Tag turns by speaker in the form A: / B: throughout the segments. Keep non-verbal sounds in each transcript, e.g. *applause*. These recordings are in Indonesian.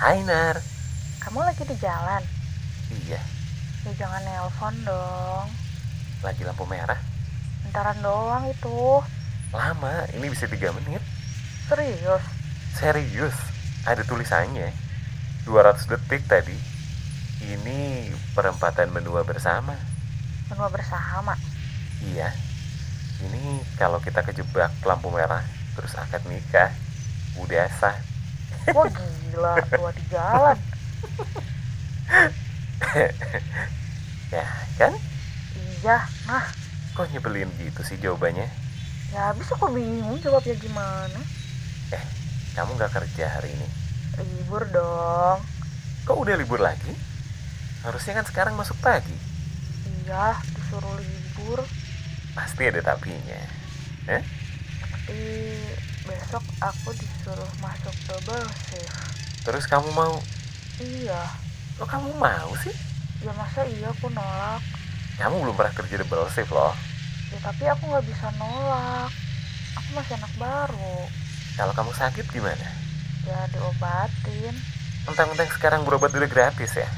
A: Hai Nar
B: Kamu lagi di jalan?
A: Iya
B: Ya jangan nelpon dong.
A: lagi lampu merah
B: Bentaran doang itu.
A: Lama ini bisa 3 menit
B: Serius?
A: Serius ada tulisannya 200 detik tadi Ini perempatan menua bersama
B: Menua bersama.
A: Iya Ini kalau kita kejebak lampu merah Terus akad nikah Udah sah
B: Wah gila, tua di jalan.
A: *laughs* Ya kan?
B: Iya, nah.
A: Kok nyebelin gitu sih jawabannya?
B: Ya habis aku bingung jawabnya gimana.
A: Kamu nggak kerja hari ini
B: Libur dong.
A: Kok udah libur lagi? Harusnya kan sekarang masuk pagi
B: Iya, disuruh libur.
A: Pasti ada tapinya
B: Tapi besok aku disuruh masuk double shift.
A: Terus kamu mau
B: Iya.
A: Kok kamu mau sih?
B: Ya masa iya aku nolak?
A: Kamu belum pernah kerja double shift loh
B: Ya tapi aku nggak bisa nolak. Aku masih anak baru.
A: Kalau kamu sakit gimana?
B: Ya diobatin.
A: Entang-entang sekarang berobat udah gratis ya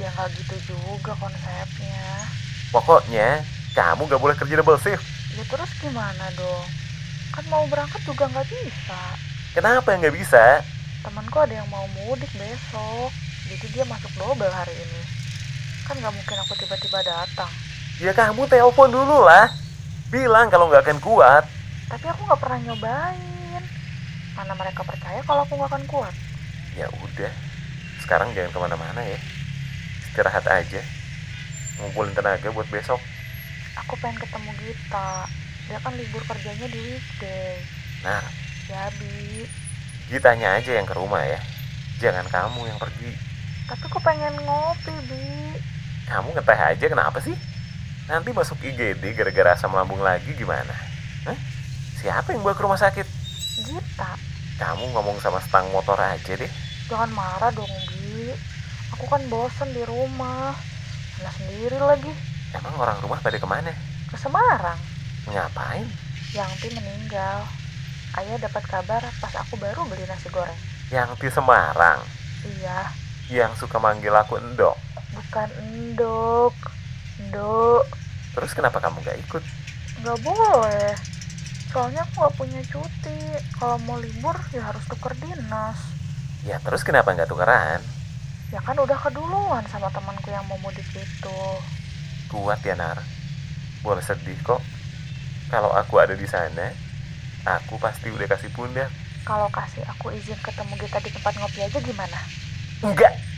B: ya nggak gitu juga konsepnya
A: Pokoknya kamu nggak boleh kerja double shift
B: ya terus gimana dong kan mau berangkat juga nggak bisa
A: Kenapa nggak bisa?
B: temanku ada yang mau mudik besok jadi dia masuk double hari ini kan nggak mungkin aku tiba-tiba datang
A: Ya kamu telepon dulu lah Bilang kalau nggak akan kuat
B: tapi aku nggak pernah nyobain mana mereka percaya kalau aku nggak akan kuat
A: Ya udah Sekarang jangan kemana-mana ya Istirahat aja Ngumpulin tenaga buat besok
B: aku pengen ketemu Gita dia kan libur kerjanya di weekday
A: Nah,
B: ya bi
A: Gitanya aja yang ke rumah ya Jangan kamu yang pergi
B: tapi aku pengen ngopi bi
A: Kamu ngeteh aja kenapa sih? Nanti masuk IGD gara-gara asam lambung lagi gimana? Hah? Siapa yang bawa ke rumah sakit?
B: Gita
A: Kamu ngomong sama stang motor aja deh
B: Jangan marah dong, Bi. Aku kan bosen di rumah. Anak sendiri lagi.
A: Emang orang rumah pada kemana?
B: Ke Semarang.
A: Ngapain?
B: Yangti meninggal. Ayah dapat kabar pas aku baru beli nasi goreng.
A: Yang di Semarang
B: Iya,
A: Yang suka manggil aku endok
B: bukan endok. Endok.
A: Terus kenapa kamu gak ikut?
B: Nggak boleh. Soalnya aku nggak punya cuti. Kalau mau libur ya harus tuker dinas.
A: Ya terus kenapa nggak tukeran?
B: Ya kan udah keduluan sama temanku yang mau mudik itu.
A: Kuat ya Nar Boleh sedih kok Kalau aku ada di sana Aku pasti udah kasih pundak
B: Kalau kasih aku izin ketemu kita di tempat ngopi aja gimana?
A: Enggak